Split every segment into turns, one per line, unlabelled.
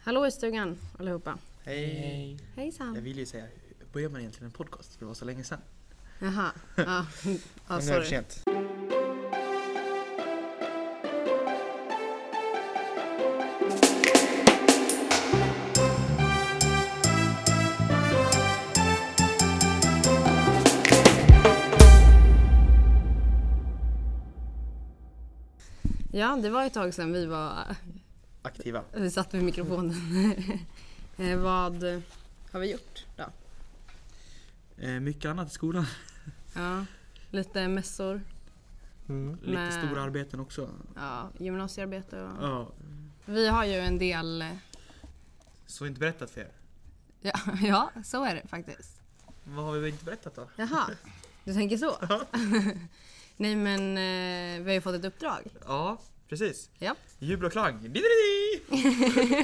Hallå i stugan allihopa.
Hej! Jag
Hejsan.
vill ju säga, börjar man egentligen en podcast? För det var så länge sedan.
Jaha. Ja, ja
Men nu är
sorry.
det sent.
Ja, det var ett tag sedan vi var
Aktiva.
vi satt vid mikrofonen. Eh, Vad har vi gjort då?
Eh, mycket annat i skolan.
Ja, lite mässor,
Lite
Men-
stora arbeten också.
ja, gymnasiearbete och...
Ja.
Vi har ju en del...
Så inte berättat för er.
Ja, ja, så är det faktiskt.
Vad har vi inte berättat då?
Jaha, du tänker så? Nej men eh, vi har ju fått ett uppdrag.
Ja, precis.
Ja.
Jubel och klang. Dididi!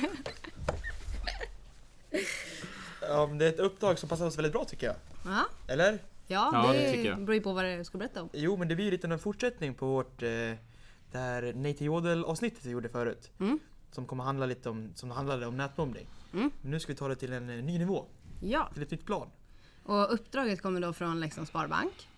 Ja, men det är ett uppdrag som passar oss väldigt bra tycker jag.
Ja,
Eller?
ja,
Ja,
det,
det tycker jag.
beror ju på vad du ska berätta om.
Jo, men det blir ju lite en fortsättning på vårt eh, det här Nej till jodel-avsnittet vi gjorde förut.
Mm.
Som kommer handla lite om, som handlade om nätbombning.
Mm.
Men nu ska vi ta det till en eh, ny nivå,
Ja,
till ett nytt plan.
och uppdraget kommer då från Leksands Sparbank.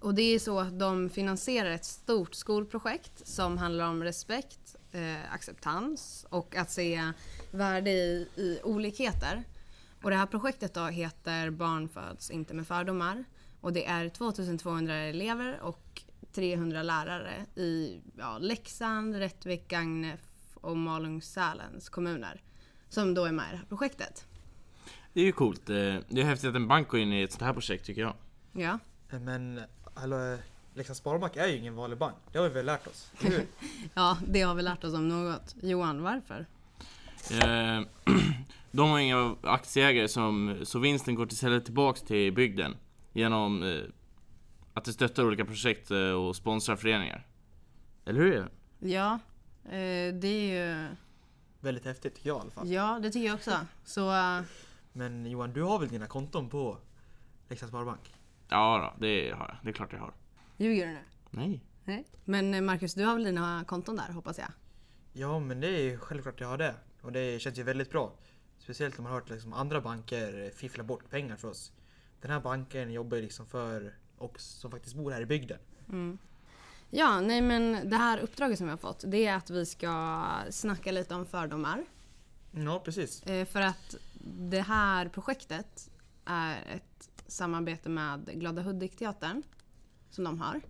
Och det är så att de finansierar ett stort skolprojekt som handlar om respekt, eh, acceptans och att se värde i, i olikheter. Och det här projektet då heter Barn föds inte med fördomar. Och det är 2200 elever och 300 lärare i ja, Leksand, Rättvik, Gagnef och Malung-Sälens kommuner som då är med i det här projektet.
Det är ju coolt. eh, Det är häftigt att en bank går in i ett sånt här projekt tycker jag.
Ja.
Eh, Men hallå, eh, Leksands Sparbank är ju ingen vanlig bank. Det har vi väl lärt oss, eller hur?
Ja, det har vi lärt oss om något. Johan, varför?
Eh, De har inga aktieägare som, så vinsten går istället tillbaks till bygden genom eh, att de stöttar olika projekt eh, och sponsrar föreningar. Eller hur?
Ja, eh, det är ju...
Väldigt häftigt tycker jag i alla fall.
Ja, det tycker jag också. Så eh,
Men Johan, du har väl dina konton på Leksands Sparbank?
Ja, då, det har jag. Det är klart jag har.
ljuger du nu?
Nej.
Nej. Men eh, Marcus, du har väl dina konton där hoppas jag?
Ja, men det är ju självklart jag har det. Och det känns ju väldigt bra. Speciellt när man har hört liksom andra banker eh, fiffla bort pengar för oss. Den här banken jobbar ju liksom för och som faktiskt bor här i bygden.
Ja, nej men det här uppdraget som vi har fått det är att vi ska snacka lite om fördomar.
Ja, precis.
Eh, För att det här projektet är ett samarbete med Glada Hudik-teatern som de har.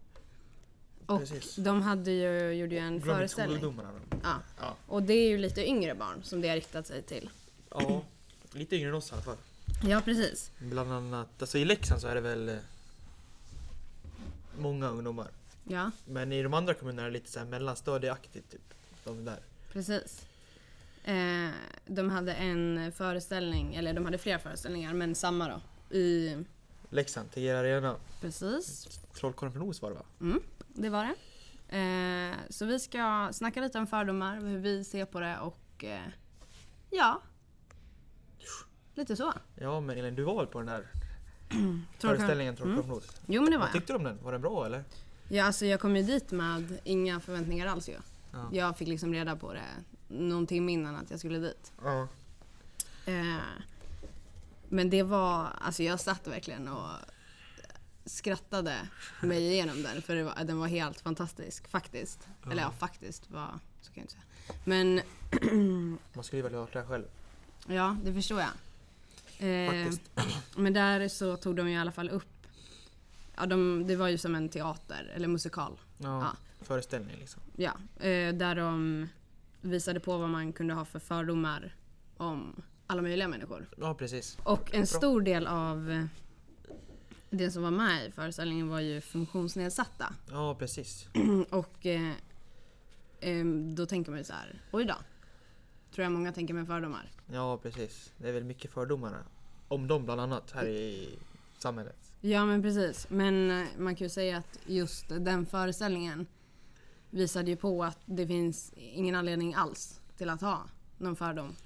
Och
Precis.
de hade ju, gjorde ju en
Glöm inte
föreställning.
skolungdomarna. då.
Ja.
Ja.
Och det är ju lite yngre barn som det har riktat sig till.
ja, lite yngre än oss i alla fall.
Ja, precis.
Bland annat, alltså i Leksand så är det väl eh, många ungdomar.
Ja,
Men i de andra kommunerna är det lite så här mellanstadieaktigt typ. De där.
precis. Eh, de hade en föreställning, eller de hade flera föreställningar, men samma då. I,
Leksand, Tegera Arena.
precis,
Trollkarlen från Oz var det va?
Mm, det var det. Eh, så vi ska snacka lite om fördomar, hur vi ser på det och eh, ja, lite så.
Ja, men Elin, du var väl på den där
Trollkarlen-
föreställningen Trollkarlen från Oz?
Jo men det var
Vad
jag.
tyckte du om den? Var den bra eller?
Ja, alltså, jag kom ju dit med inga förväntningar alls ju.
Ja.
Jag fick liksom reda på det någon timme innan att jag skulle dit.
Ja.
Eh, men det var, alltså jag satt verkligen och skrattade mig igenom den för det var, den var helt fantastisk faktiskt. Eller ja, faktiskt var, så kan jag inte säga. Men
Man skulle ju väl ha hört det här själv.
Ja, det förstår jag. Eh,
Faktiskt.
men där så tog de ju i alla fall upp... Ja, de, det var ju som en teater, eller musikal.
Ja.
Ja.
Föreställning liksom.
Ja, eh, där de visade på vad man kunde ha för fördomar om alla möjliga människor.
Ja, precis.
Och en stor del av eh, det som var med i föreställningen var ju funktionsnedsatta.
Ja, precis.
Och eh, eh, då tänker man ju så här, oj då. Tror jag många tänker med fördomar.
Ja, precis. Det är väl mycket fördomar om dem bland annat här i samhället.
Ja men precis. Men eh, man kan ju säga att just den föreställningen visade ju på att det finns ingen anledning alls till att ha någon fördom.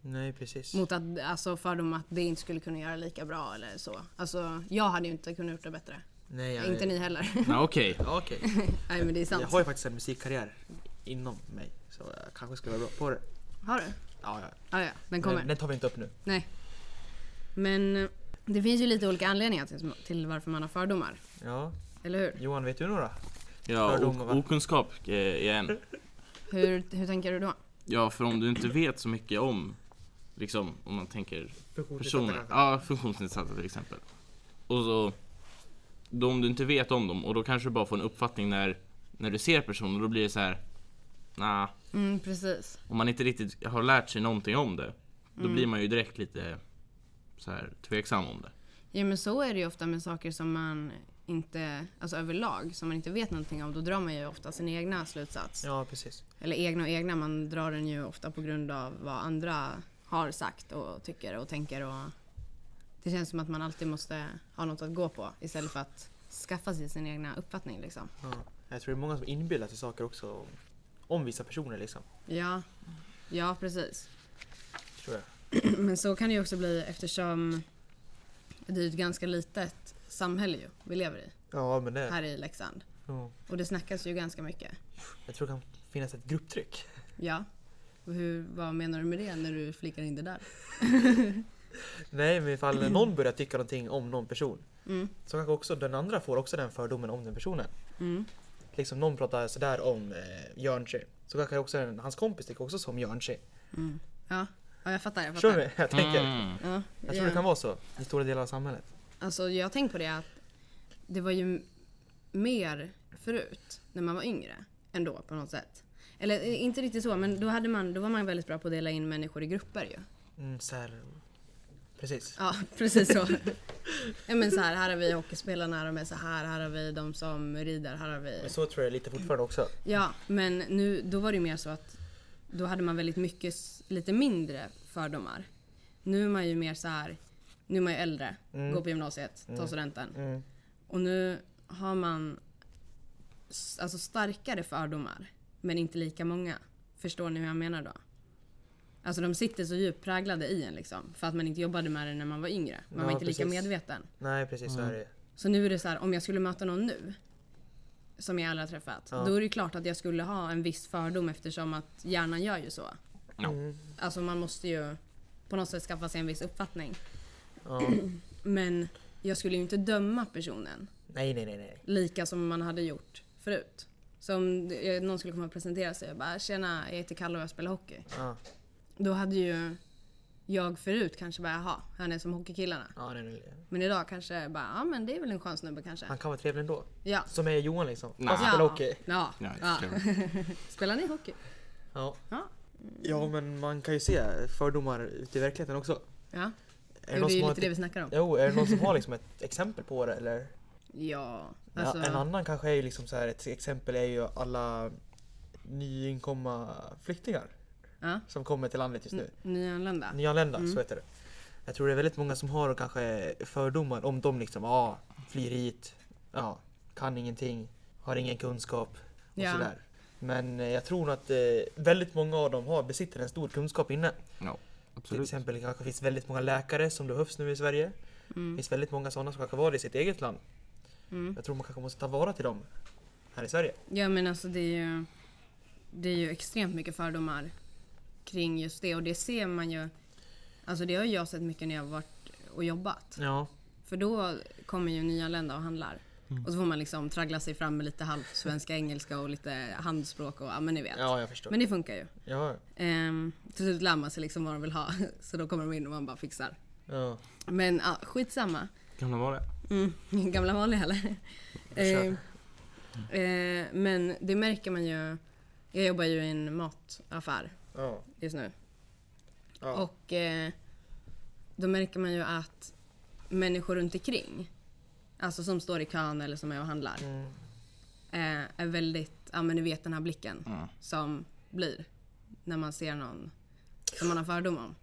Nej, precis.
Mot att, alltså fördom att det inte skulle kunna göra lika bra eller så. Alltså jag hade ju inte kunnat gjort det bättre.
Nej, jag...
Inte ni heller.
Ja, Okej.
Ja, Okej.
Nej men det är sant.
Jag har ju faktiskt en musikkarriär inom mig så jag kanske skulle vara bra på det.
Har du?
Ja, ja.
Ja, ja, den kommer.
Den, den tar vi inte upp nu.
Nej. Men eh, det finns ju lite olika anledningar till, till varför man har fördomar.
Ja,
Eller hur?
Johan, vet du några?
Ja,
Fördomar, va?
ok- okunskap eh, är en.
Hur, hur tänker du då?
Ja, för om du inte vet så mycket om, liksom, om man tänker personer. Ja, funktionsnedsatta till exempel. Och så, då om du inte vet om dem och då kanske du bara får en uppfattning när, när du ser personen och då blir det så här. Nah,
Mm, precis.
om man inte riktigt har lärt sig någonting om det, då blir man ju direkt lite så här tveksam om det.
Ja men så är det ju ofta med saker som man inte, alltså överlag, som man inte vet någonting om. Då drar man ju ofta sin egna slutsats.
Ja, precis.
Eller egna och egna, man drar den ju ofta på grund av vad andra har sagt och tycker och tänker och det känns som att man alltid måste ha något att gå på istället för att skaffa sig sin egna uppfattning liksom.
Ja. Jag tror det är många som inbillar sig saker också om, om vissa personer liksom.
Ja, ja precis.
Tror jag.
Men så kan det ju också bli eftersom det är ett ganska litet samhälle ju vi lever i
Ja, men det...
här i Leksand.
Ja.
Och det snackas ju ganska mycket.
Jag tror det kan finnas ett grupptryck.
Ja. Och Hur, vad menar du med det när du flikar in det där?
Nej, men ifall någon börjar tycka någonting om någon person
Mm.
så kanske också den andra får också den fördomen om den personen.
Mm.
Liksom någon pratar sådär om eh, Jörnsjö. Så kanske också en, hans kompis tycker också som Jörnsjö.
Ja. ja, jag fattar. Jag
Förstår du?
fattar.
vad Jag tänker.
Mm.
Ja,
Jag tror det kan vara så i stora delar av samhället.
Alltså jag har tänkt på det att det var ju m- mer förut när man var yngre ändå på något sätt. Eller eh, inte riktigt så, men då, hade man, då var man väldigt bra på att dela in människor i grupper ju.
Mm, så här. Precis.
Ja, precis så. ja, men så här, här har vi hockeyspelarna, här har vi så här, här har vi de som rider, här har vi...
Men så tror jag lite fortfarande också.
Ja, men nu, då var det ju mer så att då hade man väldigt mycket, s- lite mindre fördomar. Nu är man ju mer så här, nu är man ju äldre, går på gymnasiet, tar studenten.
Mm.
Och nu har man s- alltså starkare fördomar, men inte lika många. Förstår ni hur jag menar då? Alltså de sitter så djupt präglade i en liksom, för att man inte jobbade med det när man var yngre. Man
Ja,
var inte lika
precis.
medveten.
Nej, precis så är det
Så nu är det så här, om jag skulle möta någon nu, som jag aldrig har träffat, då är det klart att jag skulle ha en viss fördom eftersom att hjärnan gör ju så.
Ja.
Alltså man måste ju på något sätt skaffa sig en viss uppfattning.
Ja.
Men jag skulle ju inte döma personen
Nej, nej, nej, nej.
lika som man hade gjort förut. Så om det- någon skulle komma och presentera sig och bara “tjena, jag heter Kalle och jag spelar hockey”.
Ja,
Då hade ju jag förut kanske bara “jaha, han är som hockeykillarna”.
ja, nej, nej.
Men idag kanske bara “ja men det är väl en skön snubbe kanske”.
Han kan vara trevlig ändå.
Ja.
Som är Johan liksom. Fast
Ja.
han spelar hockey.
Ja.
Ja,
ja.
det är
Spelar ni hockey?
Ja.
Ja.
ja, men man kan ju se fördomar ute i verkligheten också.
ja.
Är
Det, det är ju
har
lite det vi
ett...
snackar om.
Jo, är det någon som har liksom ett exempel på det eller?
Ja. Alltså,
Ja, en annan kanske är ju liksom så här, ett exempel är ju alla nyinkomna flyktingar
Ja.
som kommer till landet just nu.
nyanlända.
Nyanlända,
Mm.
så heter det. Jag tror det är väldigt många som har kanske fördomar om dem liksom. Ja, flyr hit, ja, kan ingenting, har ingen kunskap och
Ja.
sådär. Men eh, jag tror att eh, väldigt många av dem har, besitter en stor kunskap inne. Till
Ja, absolut.
exempel kanske finns väldigt många läkare som behövs nu i Sverige. Det finns väldigt många sådana som kanske var det i sitt eget land.
Mm.
Jag tror man kanske måste ta vara till dem här i Sverige.
Ja men alltså det är ju Det är ju extremt mycket fördomar Kring just det och det ser man ju Alltså det har jag sett mycket när jag har varit och jobbat
Ja,
För då kommer ju nyanlända och handlar
Mm.
Och så får man liksom traggla sig fram med lite halvt svenska, engelska och lite handspråk och ja men ni vet
ja jag förstår.
Men det funkar ju
Ja,
ehm, Till slut lär man sig liksom vad de vill ha Så då kommer de in och man bara fixar
ja.
Men ja, skitsamma
Kan det vara det?
Mm, gamla vanliga eller?
kör.
Eh, eh, men det märker man ju. Jag jobbar ju i en mataffär
ja.
just nu.
ja.
Och eh, då märker man ju att människor runt omkring, alltså som står i kön eller som är och handlar,
Mm.
eh, är väldigt, ja men ni vet den här blicken
Mm.
som blir när man ser någon som man har fördom om.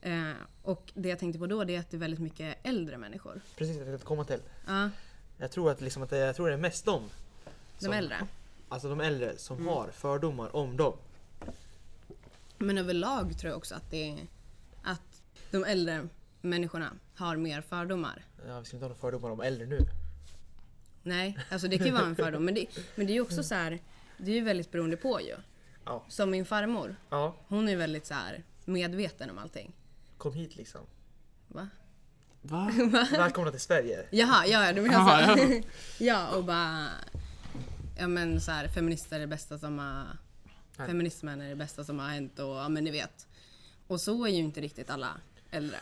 Eh, och det jag tänkte på då det är att det är väldigt mycket äldre människor.
Precis, jag tänkte komma till.
Ja,
Jag tror att, liksom att det, jag tror det är mest de.
de
som-
äldre.
Alltså de äldre som
Mm.
har fördomar om dem.
Men överlag tror jag också att det är att de äldre människorna har mer fördomar.
Ja, vi ska inte ha några fördomar om äldre nu.
Nej, alltså det kan ju vara en fördom. Men det, men det är ju också så här, det är ju väldigt beroende på ju.
Ja.
Som min farmor.
Ja,
Hon är väldigt så här medveten om allting.
kom hit liksom.
Va?
Va?
Välkomna till Sverige.
Jaha, ja, ja, du menar
Jaha,
så. ja, och bara... Ja men så här, feminister är det bästa som har... Feminismen är det bästa som har hänt och ja men ni vet. Och så är ju inte riktigt alla äldre.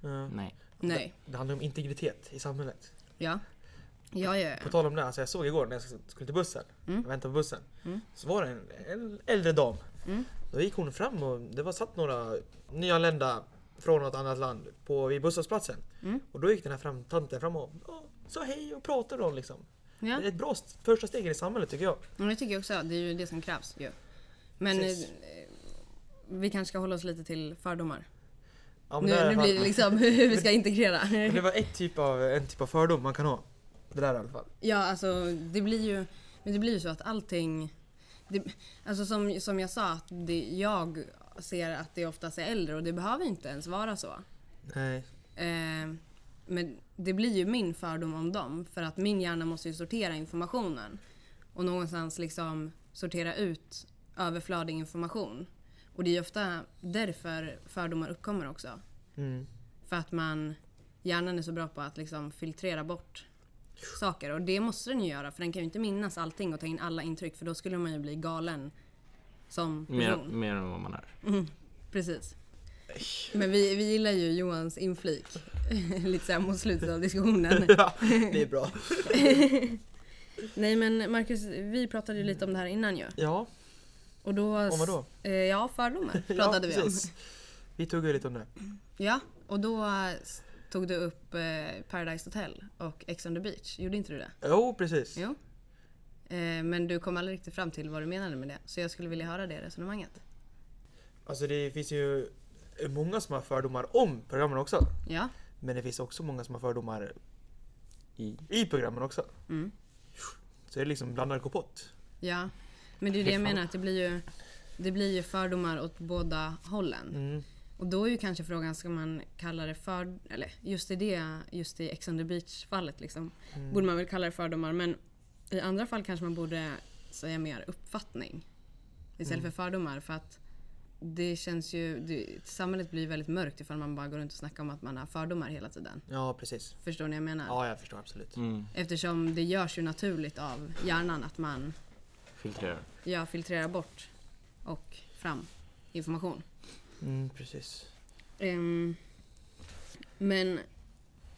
Ja.
Nej.
Nej.
Det handlar om integritet i samhället.
Ja. Ja, ja,
På
ja.
tal om det, alltså jag såg igår när jag skulle till bussen,
Mm.
jag väntade på bussen, så var det en, en äldre dam.
Mm.
Då gick hon fram och det var satt några nyanlända från något annat land på, vid busshållplatsen.
Mm.
Och då gick den här fram, tanten fram och ja, sa hej och pratade med dem liksom.
ja.
Det är ett bra st- första steg i samhället tycker jag.
Men det tycker jag också. Det är ju det som krävs ju. Men eh,
Precis.
vi kanske ska hålla oss lite till fördomar.
Ja, men
Nu,
där i
nu
alla fall-
blir det liksom hur vi ska integrera.
Men Det var ett typ av, en typ av fördom man kan ha. Det där i alla fall.
Ja, alltså det blir ju, men det blir ju så att allting... Det, alltså som, som jag sa, att det, jag ser att det oftast är äldre och det behöver inte ens vara så.
Nej.
Eh, men det blir ju min fördom om dem för att min hjärna måste ju sortera informationen. Och någonstans liksom sortera ut överflödig information. Och det är ju ofta därför fördomar uppkommer också.
Mm.
För att man, hjärnan är så bra på att liksom filtrera bort saker. Och det måste den ju göra för den kan ju inte minnas allting och ta in alla intryck för då skulle man ju bli galen som
Mer,
person.
mer än vad man är.
Precis. Men vi, vi gillar ju Johans inflik. Lite såhär mot slutet av diskussionen.
Ja, det är bra.
Nej men Marcus, vi pratade ju lite om det här innan ju.
Ja,
Och då...
Om vadå?
Eh, Ja, fördomar
ja
pratade vi om.
precis. Vi tuggade lite om det.
Ja, och då eh, s- tog du upp eh, Paradise Hotel och Ex on the Beach. Gjorde inte du det?
Jo, precis.
Jo. Eh, Men du kom aldrig riktigt fram till vad du menade med det. Så jag skulle vilja höra det resonemanget.
Alltså det finns ju många som har fördomar om programmen också.
Ja.
Men det finns också många som har fördomar i, i programmen också.
Mm.
Så det är liksom blandad kompott.
Ja. Men det är ju det jag
Fan.
menar. Att det blir ju, det blir ju fördomar åt båda hållen.
Mm.
Och då är ju kanske frågan, ska man kalla det för... Eller just i det, just i Ex on the Beach-fallet liksom.
Mm.
Borde man väl kalla det fördomar. Men i andra fall kanske man borde säga mer uppfattning. Istället
Mm.
för fördomar. För att det känns ju... Det, samhället blir väldigt mörkt ifall man bara går runt och snackar om att man har fördomar hela tiden.
Ja, precis.
Förstår ni vad jag menar?
Ja, jag förstår absolut.
Mm.
Eftersom det görs ju naturligt av hjärnan att man
Filtrerar.
ja, filtrerar bort och fram information.
Mm, precis.
Ehm, men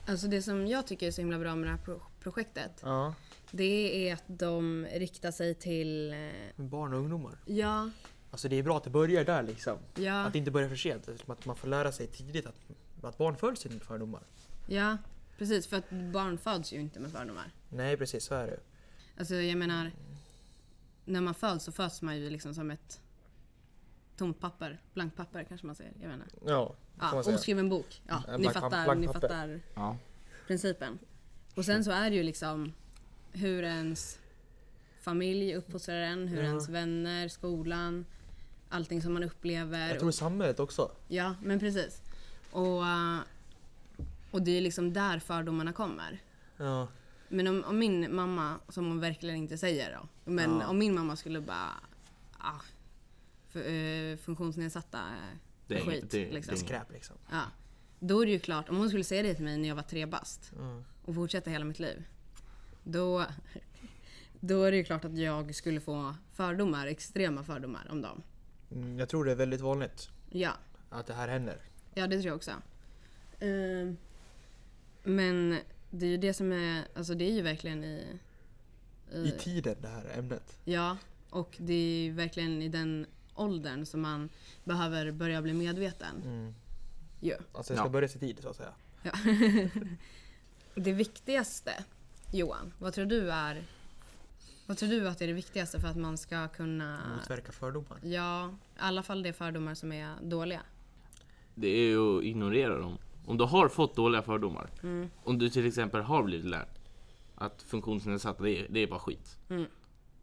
alltså det som jag tycker är så himla bra med det här pro- projektet
Ja.
det är att de riktar sig till... eh,
Men barn och ungdomar.
Ja,
Alltså det är bra att det börjar där liksom.
ja,
Att det inte börjar för sent. Eftersom att man får lära sig tidigt att, att barn föds inte med fördomar.
ja. Precis, för att barn föds ju inte med fördomar.
Nej, precis. Så är det.
Alltså jag menar, när man föds så föds man ju liksom som ett tomt papper. Blankt papper kanske man säger. Jag menar.
Ja, det kan
Ja,
man säga.
oskriven bok. Ja,
En
ni
blank-
fattar,
blank
ni
papper.
fattar
Ja.
principen. Och sen så är det ju liksom hur ens familj uppfostrar en, hur
Ja.
ens vänner, skolan, allting som man upplever.
Jag tror samhället också.
Ja, men precis. Och, eh, och det är liksom där fördomarna kommer.
Ja.
Men om, om min mamma, som hon verkligen inte säger då, men
Ja.
om min mamma skulle bara ah, för, eh, funktionsnedsatta eh,
Det är
skit.
inget- det-
liksom.
det är inget.
Skräp liksom.
ja. Då är det ju klart, om hon skulle säga det till mig när jag var tre bast
Ja.
och fortsätta hela mitt liv. Då, då är det ju klart att jag skulle få fördomar, extrema fördomar om dem.
Mm, jag tror det är väldigt vanligt
Ja,
att det här händer.
ja det tror jag också. Ehm, men det är ju det som är, alltså det är ju verkligen i...
I tiden, det här ämnet.
ja, och det är ju verkligen i den åldern som man behöver börja bli medveten.
Mm.
Ja.
Alltså det ska
Ja.
börja i tid så att säga.
Ja. det viktigaste, Johan, vad tror du är vad tror du att är det viktigaste för att man ska kunna...
Motverka fördomar.
Ja, i alla fall de fördomar som är dåliga.
Det är ju att ignorera dem. Om du har fått dåliga fördomar.
Mm.
Om du till exempel har blivit lärd att funktionsnedsatta, det är, det är bara skit.
Mm.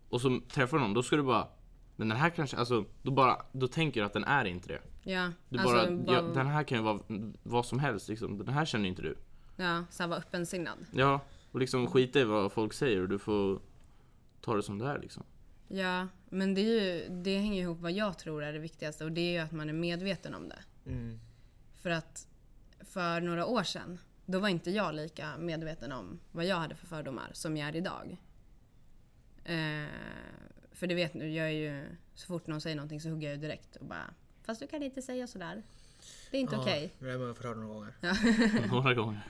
Och så träffar du någon, då ska du bara... Men den här kanske, alltså, då, bara, då tänker du att den är inte det.
Ja,
Du
alltså
bara,
bara,
ja, den här kan ju vara vad som helst liksom. Den här känner ju inte du.
ja, så här vara öppensinnad.
Ja, och liksom skita i vad folk säger och du får ta det som det är liksom.
Ja, men det, är ju, det hänger ihop vad jag tror är det viktigaste och det är ju att man är medveten om det.
Mm.
För att för några år sedan, då var inte jag lika medveten om vad jag hade för fördomar som jag är idag. Eh, för det vet nu, jag är ju, så fort någon säger någonting så hugger jag ju direkt och bara Fast du kan inte säga sådär. Det är inte
Ja,
okej.
Det har man fått höra några gånger.
Några gånger.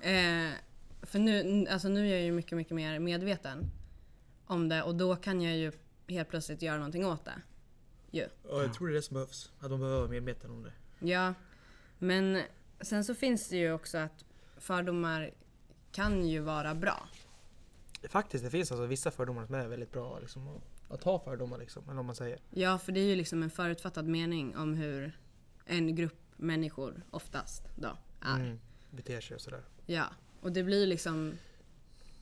Eh, för nu, alltså nu är jag ju mycket, mycket mer medveten om det och då kan jag ju helt plötsligt göra någonting åt det. Ju.
Ja, jag tror det är det som behövs. Att man behöver vara medveten om det.
Ja, men sen så finns det ju också att fördomar kan ju vara bra.
Faktiskt, det finns alltså vissa fördomar som är väldigt bra liksom, att- att ha fördomar liksom. Eller om man säger.
Ja, för det är ju liksom en förutfattad mening om hur en grupp människor oftast då är.
Mm, beter sig och sådär.
Ja, och det blir liksom...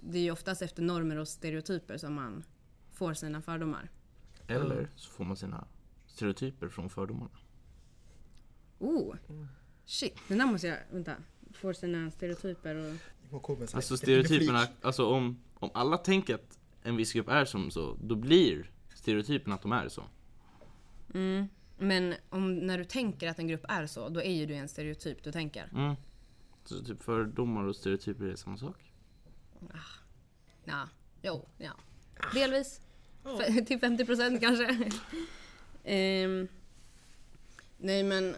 Det är ju oftast efter normer och stereotyper som man får sina fördomar. Mm.
Eller så får man sina stereotyper från fördomarna.
Oh! Shit, den där måste jag... Vänta. Får sina stereotyper och...
Och kommer så här,
Alltså
en replik.
stereotyperna, alltså om, om alla tänker att en viss grupp är som så, då blir stereotypen att de är så.
Men om, när du tänker att en grupp är så, då är ju du en stereotyp du tänker.
Mm. Så typ fördomar och stereotyper är samma sak.
Ja, jo, ja. Delvis. F- till 50 procent kanske. Ehm, nej men,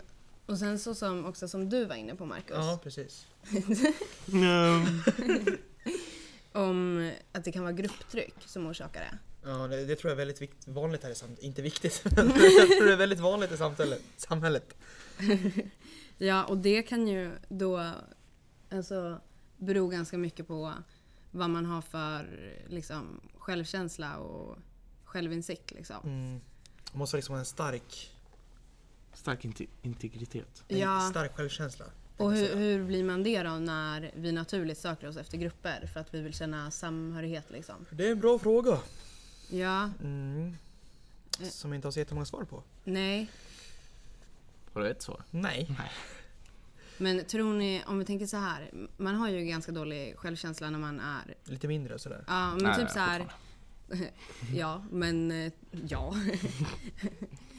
och sen så som, också som du var inne på Marcus.
Ja, precis.
Om att det kan vara grupptryck som orsakar det.
Ja, det, det tror jag är väldigt vikt, vanligt här i samhället. Inte viktigt, men jag tror det är väldigt vanligt i samhället. samhället.
Ja, och det kan ju då alltså, bero ganska mycket på vad man har för liksom, självkänsla och självinsikt. Liksom.
Mm. Man måste liksom ha en stark,
Stark inte- integritet.
en
Ja.
stark självkänsla.
Och
tänkte jag
hur,
säga.
hur blir man det då när vi naturligt söker oss efter grupper för att vi vill känna samhörighet liksom?
Det är en bra fråga.
Ja,
Mm.
Eh.
Som jag inte har så jättemånga svar på.
nej.
Har du ett svar?
Nej.
Men tror ni, om vi tänker så här, man har ju ganska dålig självkänsla när man är,
Lite mindre och sådär.
ja men
Nej,
typ så här,
fortfarande.
ja men eh, ja.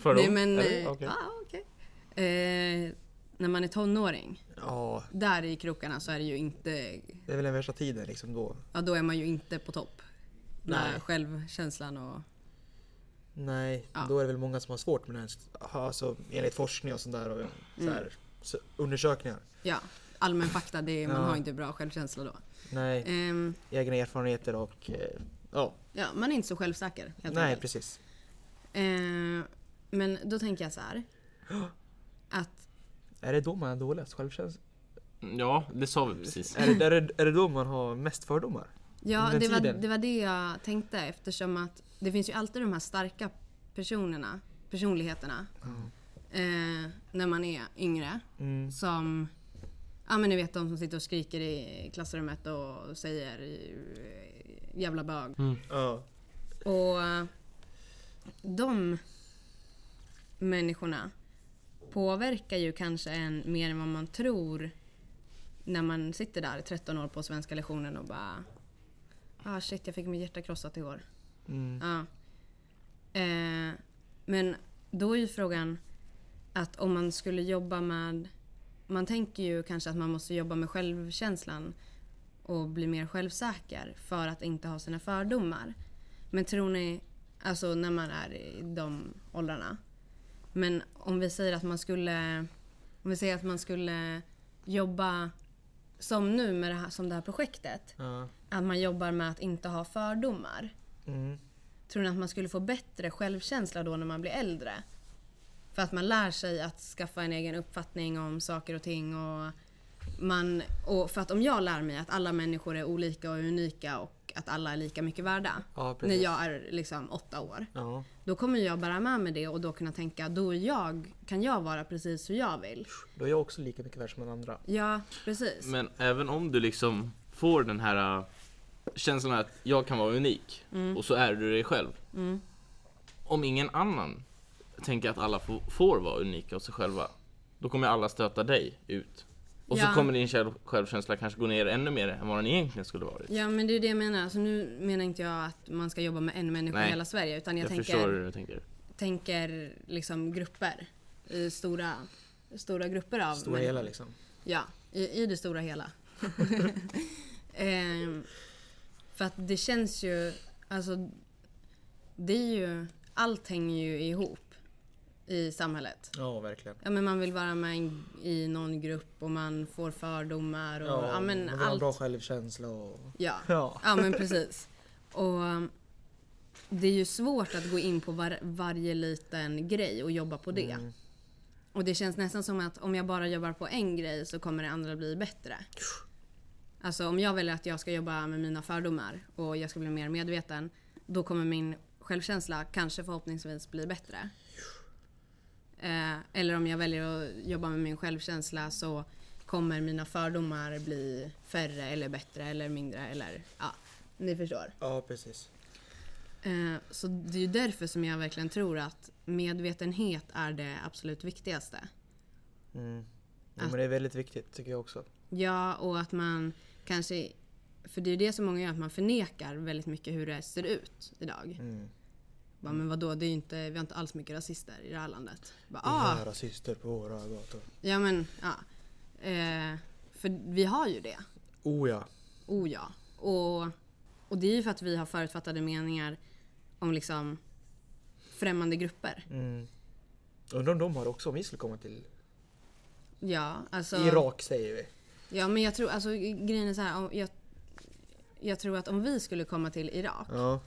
Fördom?
Nej men,
Eller?
eh,
Okej.
ja okej. Eh, när man är tonåring,
Ja,
där i krokarna så är det ju inte,
det är väl den värsta tiden liksom då.
ja då är man ju inte på topp. När
Nej.
självkänslan och,
Nej,
Ja.
då är det väl många som har svårt med det här. Alltså, enligt forskning och sånt där
Mm.
och så här, så- undersökningar.
ja, allmän fakta, det, är- man
Ja.
har inte bra självkänsla då.
Nej,
Ehm,
egna erfarenheter och eh, ja,
Ja, man är inte så självsäker helt
nej
enkelt.
precis.
Eh, men då tänker jag så här. Att,
Är det då man har dåligast självkänsla?
Ja, det sa vi precis.
Är det, är, det, är det då man har mest fördomar?
ja,
Den
det var,
tiden.
det var det jag tänkte eftersom att det finns ju alltid de här starka personerna, personligheterna. Eh, när man är yngre.
Mm.
Som, ja men ni vet de som sitter och skriker i klassrummet och säger eh, jävla bög.
Ja.
Och de människorna påverkar ju kanske en mer än vad man tror när man sitter där 13 år på svenska lektionen och bara Ah shit, jag fick mitt hjärta krossat igår.
Mm.
Ja. Eh, men då är ju frågan att om man skulle jobba med... Man tänker ju kanske att man måste jobba med självkänslan och bli mer självsäker för att inte ha sina fördomar. Men tror ni, alltså när man är i de åldrarna. Men om vi säger att man skulle, om vi säger att man skulle jobba som nu med det här, som det här projektet.
Ja.
Att man jobbar med att inte ha fördomar.
Mm.
Tror ni att man skulle få bättre självkänsla då när man blir äldre? För att man lär sig att skaffa en egen uppfattning om saker och ting och man, och för att om jag lär mig att alla människor är olika och unika och att alla är lika mycket värda
Ja,
när
precis.
jag är liksom åtta år.
Ja.
Då kommer jag bära med mig det och då kunna tänka då är jag, kan jag vara precis hur jag vill.
Då är jag också lika mycket värd som den andra.
Ja, precis.
Men även om du liksom får den här äh, känslan att jag kan vara unik
Mm.
och så är du dig själv. Om ingen annan tänker att alla får, får vara unika och sig själva, då kommer alla stöta dig ut. Och
Ja.
så kommer din själv- självkänsla kanske gå ner ännu mer än vad den egentligen skulle varit.
Ja men det är ju det jag menar. Alltså, nu menar inte jag att man ska jobba med en människa i
Nej.
hela Sverige utan jag,
jag förstår
tänker,
hur du tänker.
tänker liksom grupper. I stora, stora grupper av
Stora
människor.
hela liksom.
Ja, i, i det stora hela. Ehm, för att det känns ju, alltså det är ju, allt hänger ju ihop i samhället.
Ja, verkligen.
Ja men man vill vara med i- i någon grupp och man får fördomar och ja,
Ja, man
men
vill ha en bra
allt.
självkänsla och...
Ja.
Ja.
ja men precis. Och um, det är ju svårt att gå in på var, varje liten grej och jobba på det. Och det känns nästan som att om jag bara jobbar på en grej så kommer det andra bli bättre. Alltså om jag väljer att jag ska jobba med mina fördomar och jag ska bli mer medveten, då kommer min självkänsla kanske förhoppningsvis bli bättre. Eh, eller om jag väljer att jobba med min självkänsla så kommer mina fördomar bli färre eller bättre eller mindre eller ja, ni förstår.
Ja, precis.
Eh, så det är ju därför som jag verkligen tror att medvetenhet är det absolut viktigaste.
Mm. Ja, men det är väldigt viktigt tycker jag också.
Ja, och att man kanske... För det är ju det som många gör, att man förnekar väldigt mycket hur det ser ut idag.
Mm.
Bara, men vadå, det är ju inte, vi har inte alls mycket rasister i det här landet. Bara,
Ah.
ah,
Nära syster på våra gator.
ja men, ja. Eh, för vi har ju det.
Oh ja.
Oh ja. Och, och det är ju för att vi har förutfattade meningar om liksom främmande grupper.
Mm. Undrar om de har också om vi skulle komma till
Ja, alltså.
Irak säger vi.
Ja, men jag tror, alltså grejen är så här. Om, jag, jag tror att om vi skulle komma till Irak
Ja.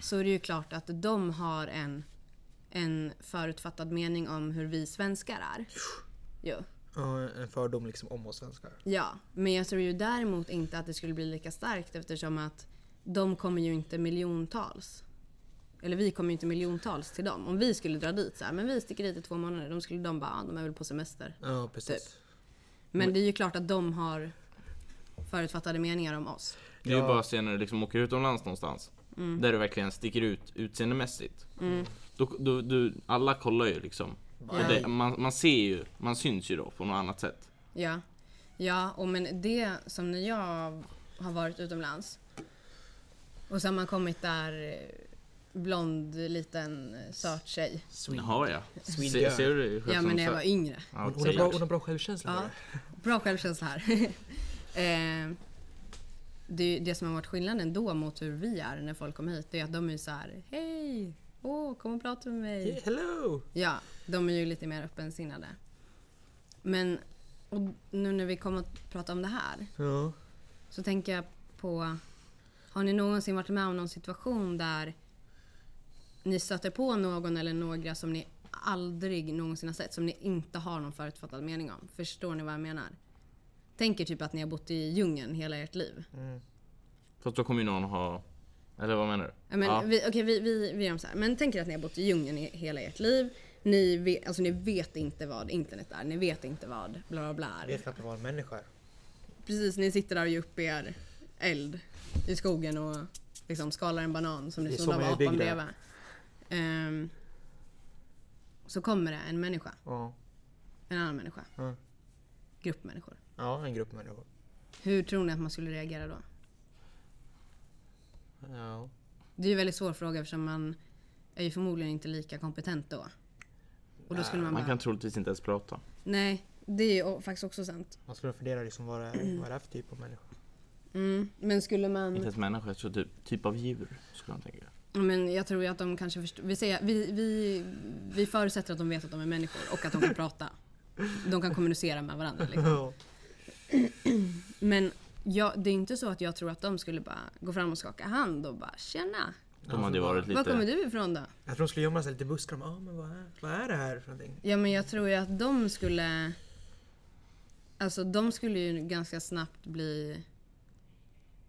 så är det ju klart att de har en, en förutfattad mening om hur vi svenskar är. Jo.
ja en fördom liksom om oss svenskar.
Ja, men jag tror ju däremot inte att det skulle bli lika starkt eftersom att de kommer ju inte miljontals. Eller vi kommer ju inte miljontals till dem. Om vi skulle dra dit så här, men vi sticker dit i två månader, de skulle de bara, ah, de är väl på semester.
Ja, precis.
Men det är ju klart att de har förutfattade meningar om oss.
Det är ju
Ja.
bara att se när du liksom åker utomlands någonstans.
Mm.
Där du verkligen sticker ut utseendemässigt. Då, då, då, alla kollar ju liksom. Och
Ja.
det, man, man ser ju, man syns ju då på något annat sätt.
Ja. ja, och men det som när jag har varit utomlands och så har man kommit där eh, blond liten söt tjej.
Jaha ja.
Swede
Se,
girl.
ser du dig själv
Ja
som
men när jag
så-
var yngre.
Ja,
Hon, hon, har
säkert.
bra, hon har bra självkänsla.
Ja.
hörru.
Bra självkänsla här. eh, det, är ju det som har varit skillnaden då mot hur vi är när folk kommer hit, det är att de är så här Hej! Åh, kom och prata med mig.
Yeah, hello!
Ja, de är ju lite mer öppensinnade. Men och nu när vi kommer att prata om det här
Ja.
så tänker jag på, har ni någonsin varit med om någon situation där ni stöter på någon eller några som ni aldrig någonsin har sett, som ni inte har någon förutfattad mening om? Förstår ni vad jag menar? Tänker typ att ni har bott i djungeln hela ert liv.
Fast då kommer ju någon ha... Eller vad menar du?
Ja, men
ja.
vi, okej, vi, vi, vi gör om så här. Men tänker att ni har bott i djungeln i hela ert liv. Ni vet, alltså, ni vet inte vad internet är, ni vet inte vad bla bla bla är.
Jag vet knappt vad en människa är.
Precis, ni sitter där och ger upp er eld i skogen och liksom skalar en banan som
Det
ni
är
såg av
som jag är
apan
byggd där.
bredvid. Ehm, så kommer det en människa,
Ja.
en annan människa.
Mm.
Grupp människor.
ja, en grupp människor.
Hur tror ni att man skulle reagera då?
Ja.
Det är ju en väldigt svår fråga eftersom man är ju förmodligen inte lika kompetent då. Och då skulle man
Man
bara,
kan troligtvis inte ens prata.
nej, det är ju o- faktiskt också sant.
Man skulle fundera liksom vad det, är- vad det är för typ av människa.
Mm. Men skulle man...
Inte ens människa, jag tror typ, typ av djur skulle man tänka.
Ja, Men jag tror ju att de kanske förstår. Vi, säger, vi, vi, vi förutsätter att de vet att de är människor och att de kan prata. De kan kommunicera med varandra. Liksom.
Ja.
Men jag, det är inte så att jag tror att de skulle bara gå fram och skaka hand och bara “tjena,
De hade ju varit
var kommer
lite...
du ifrån då?”
Jag tror de skulle gömma sig lite i buskar. Ja, ah, men vad är, vad är det här för någonting?
Ja men jag tror ju att de skulle... Alltså de skulle ju ganska snabbt bli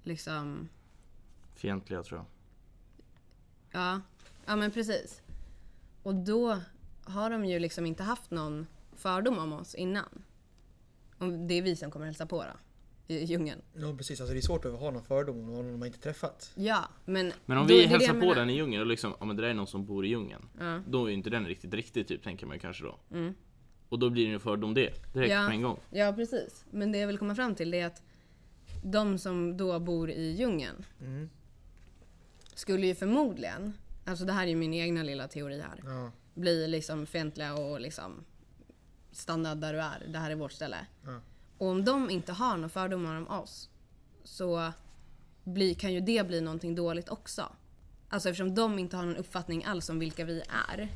liksom...
Fientliga tror jag.
Ja, ja men precis. Och då har de ju liksom inte haft någon fördom om oss innan. Om det är vi som kommer hälsa på då, i djungeln.
Ja, precis. Alltså det är svårt att ha någon fördom om någon man inte träffat.
Ja, men...
Men om
då är
vi
det det
hälsar
jag
på
menar.
den i djungeln och liksom, ja men det där är någon som bor i djungeln.
Ja.
Då är ju inte den riktigt riktig typ tänker man ju kanske då.
Mm.
Och Och då blir det ju en fördom det. Direkt
Ja.
på en gång.
Ja precis. Men det jag vill komma fram till det är att de som då bor i djungeln
Mm.
skulle ju förmodligen, alltså det här är ju min egna lilla teori här,
Ja,
bli liksom fientliga och liksom stanna där du är, det här är vårt ställe.
ja.
Och om de inte har några fördomar om oss så blir, kan ju det bli någonting dåligt också. Alltså eftersom de inte har någon uppfattning alls om vilka vi är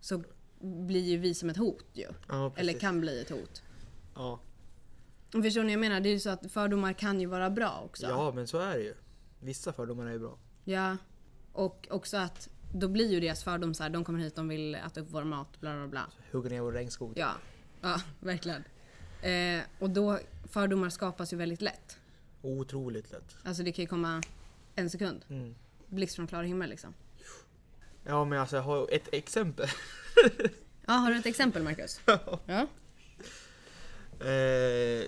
så blir ju vi som ett hot ju.
ja precis.
Eller kan bli ett hot.
ja.
Och Förstår ni vad jag menar? Det är ju så att fördomar kan ju vara bra också.
ja, men så är det ju. Vissa fördomar är ju bra.
Ja. Och också att då blir ju deras fördom så här, de kommer hit, de vill äta upp vår mat, bla bla bla.
Hugga ner vår regnskog.
Ja, ja verkligen. Eh, och då, fördomar skapas ju väldigt lätt.
Otroligt lätt.
Alltså det kan ju komma en sekund.
Mm.
Blixt från klar himmel liksom.
Ja, men alltså jag har ett exempel.
Ja, har du ett exempel Marcus? Ja.
Eh,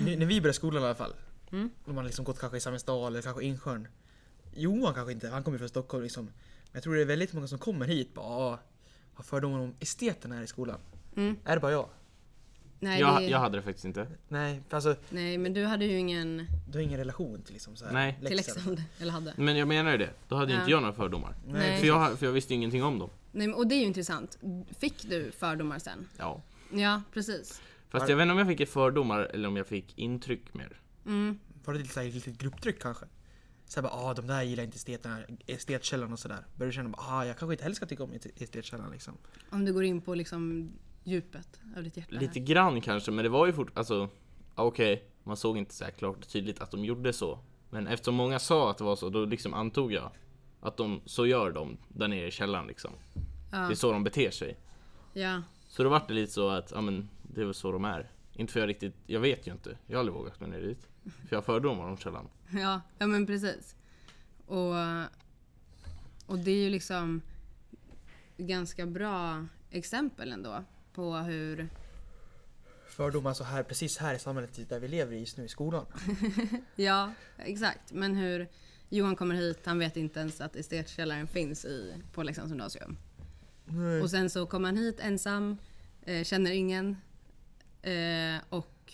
nu- när vi började skolan i alla fall.
Mm.
När man liksom gått kanske i Samhällsdal eller kanske Insjön. Johan kanske inte, han kommer från Stockholm liksom. Men jag tror det är väldigt många som kommer hit bara "Ah, har fördomar om esteterna här i skolan.
Mm.
Är det bara jag?
Nej,
Jag,
det,
jag hade det faktiskt inte.
Nej, för alltså
nej, men du hade ju ingen
du har ingen relation till liksom så här
Nej.
till Leksand. Eller hade.
Men jag menar ju det. Då hade ju
Ja.
inte jag några fördomar.
Nej.
För, jag, för jag visste ju ingenting om dem.
Nej, men- och det är ju intressant. Fick du fördomar sen?
Ja.
Ja, precis.
Fast jag vet inte om jag fick fördomar eller om jag fick intryck mer.
Mm.
Var det lite så här, lite grupptryck kanske? Såhär bara, ah de där gillar inte esteterna, estetkällan och sådär. Började känna bara, ah jag kanske inte heller ska tycka om est- estetkällan liksom.
Om du går in på liksom djupet av ditt hjärta. här.
Lite grann kanske, men det var ju fort, alltså, ja, okej, man såg inte så här klart och tydligt att de gjorde så. Men eftersom många sa att det var så, då liksom antog jag att de, så gör de där nere i källaren liksom. Det är
Ja.
så de beter sig.
ja.
Så då vart det lite så att, ja men, det är väl så de är. Inte för jag riktigt, jag vet ju inte. Jag har aldrig vågat mig ner dit. För jag har fördomar om källan.
Ja, ja men precis. Och, och det är ju liksom ganska bra exempel ändå på hur...
Fördomar så här, precis här i samhället typ där vi lever i just nu i skolan.
Ja, exakt. Men hur Johan kommer hit, han vet inte ens att estetkällaren finns i, på Leksands gymnasium.
Nej.
Och sen så kommer han hit ensam, eh, känner ingen eh, och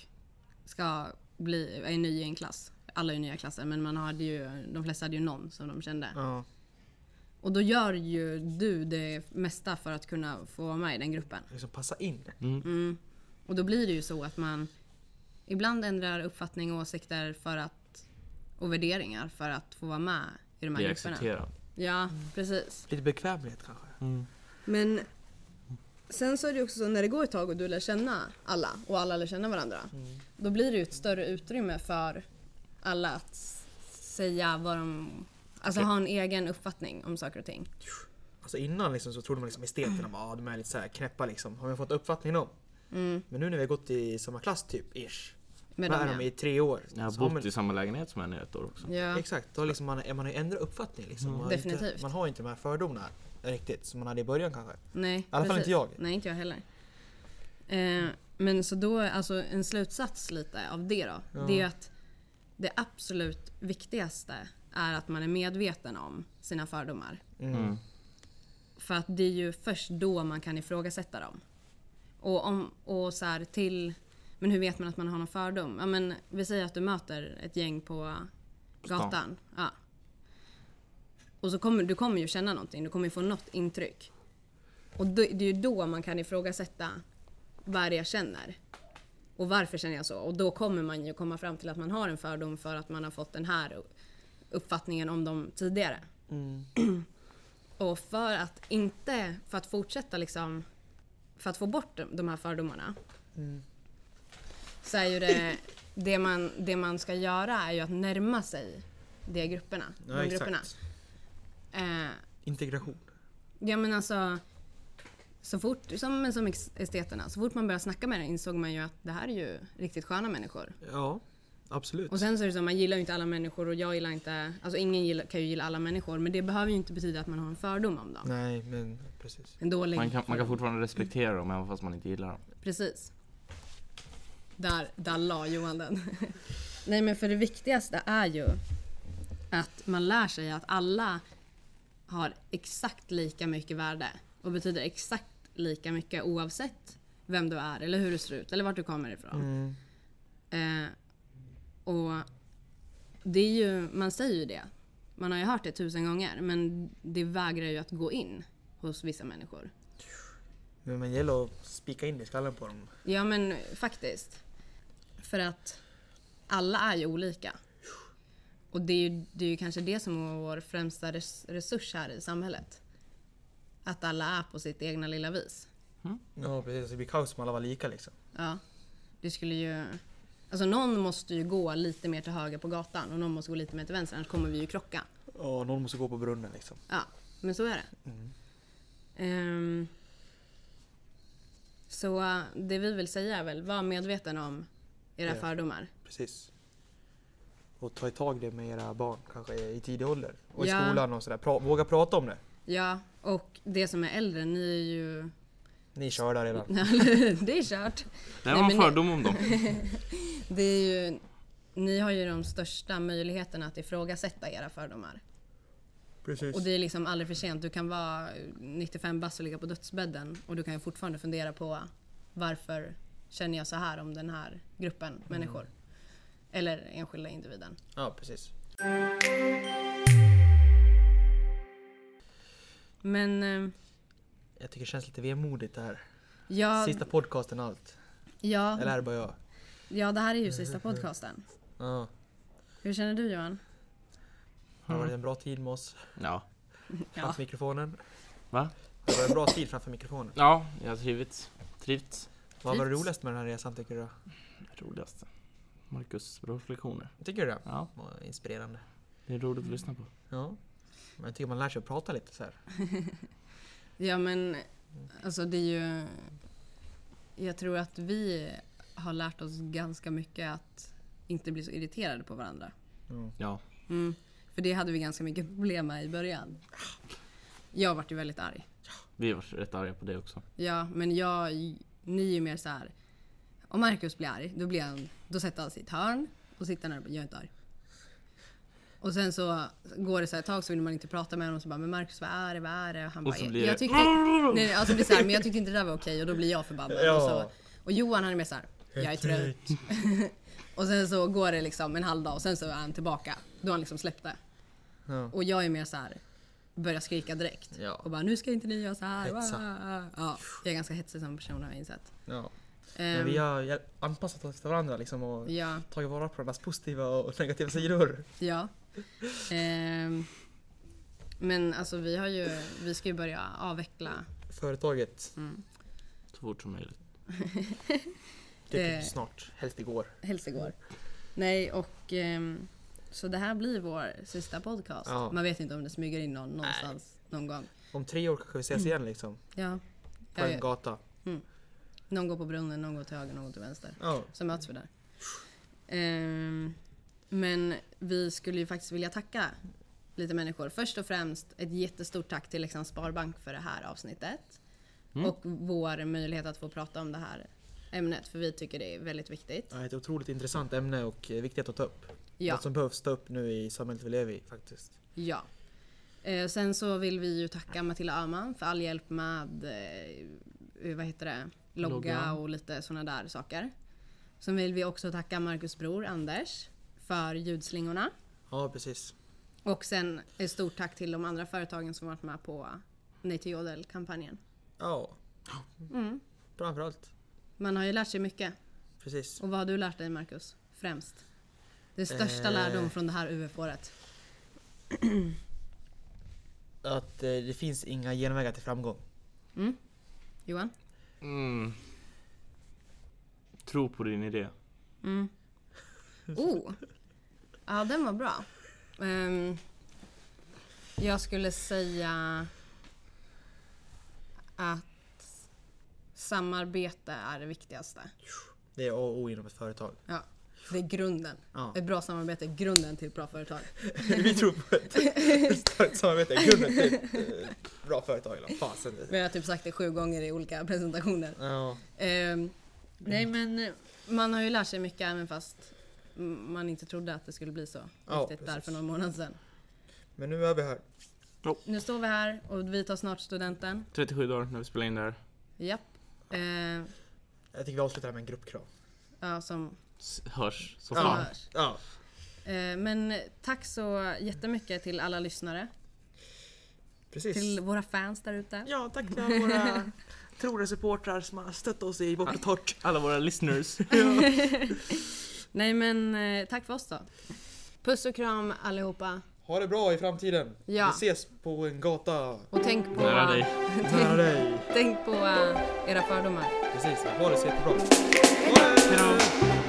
ska bli, är ny i en klass. Alla är ju nya klasser men man hade ju, de flesta hade ju någon som de kände.
Ja.
Och då gör ju du det mesta för att kunna få vara med i den gruppen.
liksom passa in.
Mm. Och då blir det ju så att man ibland ändrar uppfattning och åsikter för att, och värderingar för att få vara med i de här
Bli
grupperna.
accepterad.
Ja, precis.
Lite bekvämlighet kanske.
Mm. Men sen så är det också så när det går ett tag och du lär känna alla och alla lär känna varandra.
Mm.
Då blir det ju ett större utrymme för alla att s- säga vad de... Alltså ha en egen uppfattning om saker och ting.
Alltså innan liksom så trodde man liksom esteterna bara, ah, de är lite så här knäppa liksom. Har vi fått uppfattning om?
Mm,
Men nu när vi har gått i samma klass typ, ish.
med
Vad
dem,
är
ja.
de i tre år?
Jag har
Så har
bott
man-
i samma lägenhet som henne i ett år också.
Ja.
Exakt, då har liksom man, man har ju ändrat uppfattning liksom. Man har Inte,
Definitivt.
man har inte de här fördomarna riktigt som man hade i början kanske.
Nej, I
alla fall inte jag.
Nej, inte jag heller. Eh, men så då, alltså en slutsats lite av det då.
Ja.
Det är ju att det absolut viktigaste är att man är medveten om sina fördomar.
Mm.
För att det är ju först då man kan ifrågasätta dem. Och, om, och så här till... Men hur vet man att man har någon fördom? Ja, men vi säger att du möter ett gäng på gatan. Ja. Och så kommer du kommer ju känna någonting. Du kommer ju få något intryck. Och då, det är ju då man kan ifrågasätta vad är det jag känner. Och varför känner jag så? Och då kommer man ju komma fram till att man har en fördom för att man har fått den här uppfattningen om dem tidigare.
Mm.
Och för att inte, för att fortsätta liksom, för att få bort de, de här fördomarna.
Mm.
Så är ju det, det man, det man ska göra är ju att närma sig de grupperna.
Ja,
de
exakt.
grupperna. Eh,
Integration.
ja men alltså, så fort, som, men som ex- esteterna, så fort man började snacka med det insåg man ju att det här är ju riktigt sköna människor.
Ja, absolut.
Och sen så är det så, man gillar ju inte alla människor och jag gillar inte, alltså ingen gillar, kan ju gilla alla människor men det behöver ju inte betyda att man har en fördom om dem.
Nej, men precis.
En dålig
Man kan, man kan fortfarande respektera dem även fast man inte gillar dem.
Precis. Där, där la Johan den. Nej men för det viktigaste är ju att man lär sig att alla har exakt lika mycket värde och betyder exakt lika mycket oavsett vem du är eller hur du ser ut eller vart du kommer ifrån.
Mm.
Eh, och det är ju, man säger ju det. Man har ju hört det tusen gånger men det vägrar ju att gå in hos vissa människor.
Men man gäller att spika in det i skallen på dem.
Ja men faktiskt. För att alla är ju olika. Och det är ju, det är ju kanske det som är vår främsta res- resurs här i samhället. Att alla är på sitt egna lilla vis.
Ja precis, det blir kaos om alla var lika liksom.
Ja. Det skulle ju... Alltså någon måste ju gå lite mer till höger på gatan och någon måste gå lite mer till vänster annars kommer vi ju krocka.
Ja, någon måste gå på brunnen liksom.
Ja, men så är det. Ehm, så eh, det vi vill säga är väl, var medveten om era
Ja.
fördomar.
Precis. Och ta tag i det med era barn kanske i tidig ålder. Och i
Ja.
skolan och sådär. Pra- våga prata om det.
Ja, och det som är äldre, ni är ju...
Ni kör där redan.
det är kört.
Det
Nej,
här var en
men det-
fördom om dem.
Det är ju... Ni har ju de största möjligheterna att ifrågasätta era fördomar.
Precis.
Och det är liksom aldrig för sent. Du kan vara 95 bast och ligga på dödsbädden och du kan ju fortfarande fundera på varför känner jag så här om den här gruppen
Mm.
människor? Eller enskilda individen.
Ja, precis.
Men eh,
Jag tycker det känns lite vemodigt det här.
ja,
Sista podcasten allt. Eller
ja,
är det bara jag?
ja, det här är ju sista podcasten.
Ja.
Hur känner du Johan?
Har det varit en bra tid med oss
Ja.
Ja,
framför mikrofonen?
Va?
Har det varit en bra tid framför mikrofonen?
Ja, jag har trivits. Trivts.
Vad var det
Fint.
roligast med den här resan tycker du?
Roligaste. Marcus bra reflektioner.
Tycker du det?
Ja,
Vad Inspirerande.
det är roligt att lyssna på.
Ja. Men jag tycker man lär sig att prata lite så här.
ja men alltså det är ju... Jag tror att vi har lärt oss ganska mycket att inte bli så irriterade på varandra.
Ja.
Mm. För det hade vi ganska mycket problem med i början. Jag vart ju väldigt arg.
Vi var rätt arga på det också.
Ja, men jag, ni är ju mer så här. Om Marcus blir arg, då, blir han, då sätter han sitt hörn och sitter där och bara, jag är inte arg. Och sen så går det så här ett tag så vill man inte prata med honom så bara, men Marcus vad är det, vad är det? Och han
Och
bara,
så blir
jag
det-
tyckte, nej, nej, alltså det blir så här, men jag tyckte inte det där var okej och då blir jag förbannad.
Ja.
Och, så, och Johan han är mer så här, jag är trött. Och sen så går det liksom en halv dag och sen så är han tillbaka. Då har han liksom släppt det.
Ja.
Och jag är mer så här börjar skrika direkt.
Ja.
Och bara nu ska inte ni göra så här.
Hetsa.
Ah. Ja, jag är ganska hetsig som person har jag insett.
Ja.
Ehm,
Men vi har hjäl- anpassat oss till varandra liksom och
Ja,
tagit vara på varandras positiva och negativa sidor.
ja. Ehm, men alltså vi har ju, vi ska ju börja avveckla.
Företaget,
Mm.
Så fort som möjligt.
det är
Eh.
snart, helst igår.
Helst igår. Nej och ehm, så det här blir vår sista podcast.
Ja.
Man vet inte om det smyger in någon någonstans någon gång.
Om tre år kanske vi
Mm.
ses igen liksom.
Ja.
På
Ja,
en
ja.
gata.
Någon går på brunnen, någon går till höger, någon går till vänster.
Ja.
Så möts vi där. Ehm, men vi skulle ju faktiskt vilja tacka lite människor. Först och främst ett jättestort tack till Leksands Sparbank för det här avsnittet. Och vår möjlighet att få prata om det här ämnet. För vi tycker det är väldigt viktigt.
Ett otroligt intressant ämne och eh, viktigt att ta upp.
Ja.
Något som behövs ta upp nu i samhället vi lever i faktiskt.
ja. Eh, sen så vill vi ju tacka Matilda Öhman för all hjälp med eh, vad heter det? Logga,
Logga.
och lite sådana där saker. Sen vill vi också tacka Marcus bror Anders för ljudslingorna.
Ja, precis.
Och sen ett stort tack till de andra företagen som varit med på Nej till Jodel-kampanjen.
Ja.
Mm.
Framförallt.
Man har ju lärt sig mycket.
Precis.
Och vad har du lärt dig Marcus? Främst? Det största
Eh.
lärdom från det här E UF-året?
Att eh, det finns inga genvägar till framgång.
Johan?
Mm. Tro på din idé.
Oh! Ja, den var bra. Ehm, jag skulle säga att samarbete är det viktigaste.
Det är A och O inom ett företag.
Ja, det är grunden.
Ja.
Ett bra samarbete är grunden till ett bra företag.
vi tror på ett starkt samarbete i grunden till ett eh, bra företag. Eller fasen.
Vi har typ sagt det sju gånger i olika presentationer.
Ja.
Ehm, nej men eh, man har ju lärt sig mycket även fast m- man inte trodde att det skulle bli så
Ja,
riktigt där
precis.
för någon månad sedan.
Men nu är vi här.
Nu står vi här och vi tar snart studenten.
37 dagar när vi spelar in det här.
Japp. Eh,
Jag tycker vi avslutar det här med en gruppkram.
ja, som
S- Hörs så
som
fan.
hörs.
Ja.
Eh, men tack så jättemycket till alla lyssnare.
Precis.
Till våra fans där ute.
Ja, tack till alla våra trogna supportrar som har stöttat oss i vårt torrt.
Alla våra listeners.
Nej men eh, tack för oss då. Puss och kram allihopa.
Ha det bra i framtiden.
Ja.
Vi ses på en gata
Och tänk på,
Nära dig.
nära dig.
tänk på eh, era fördomar.
Precis, ha det så jättebra.
Hejdå.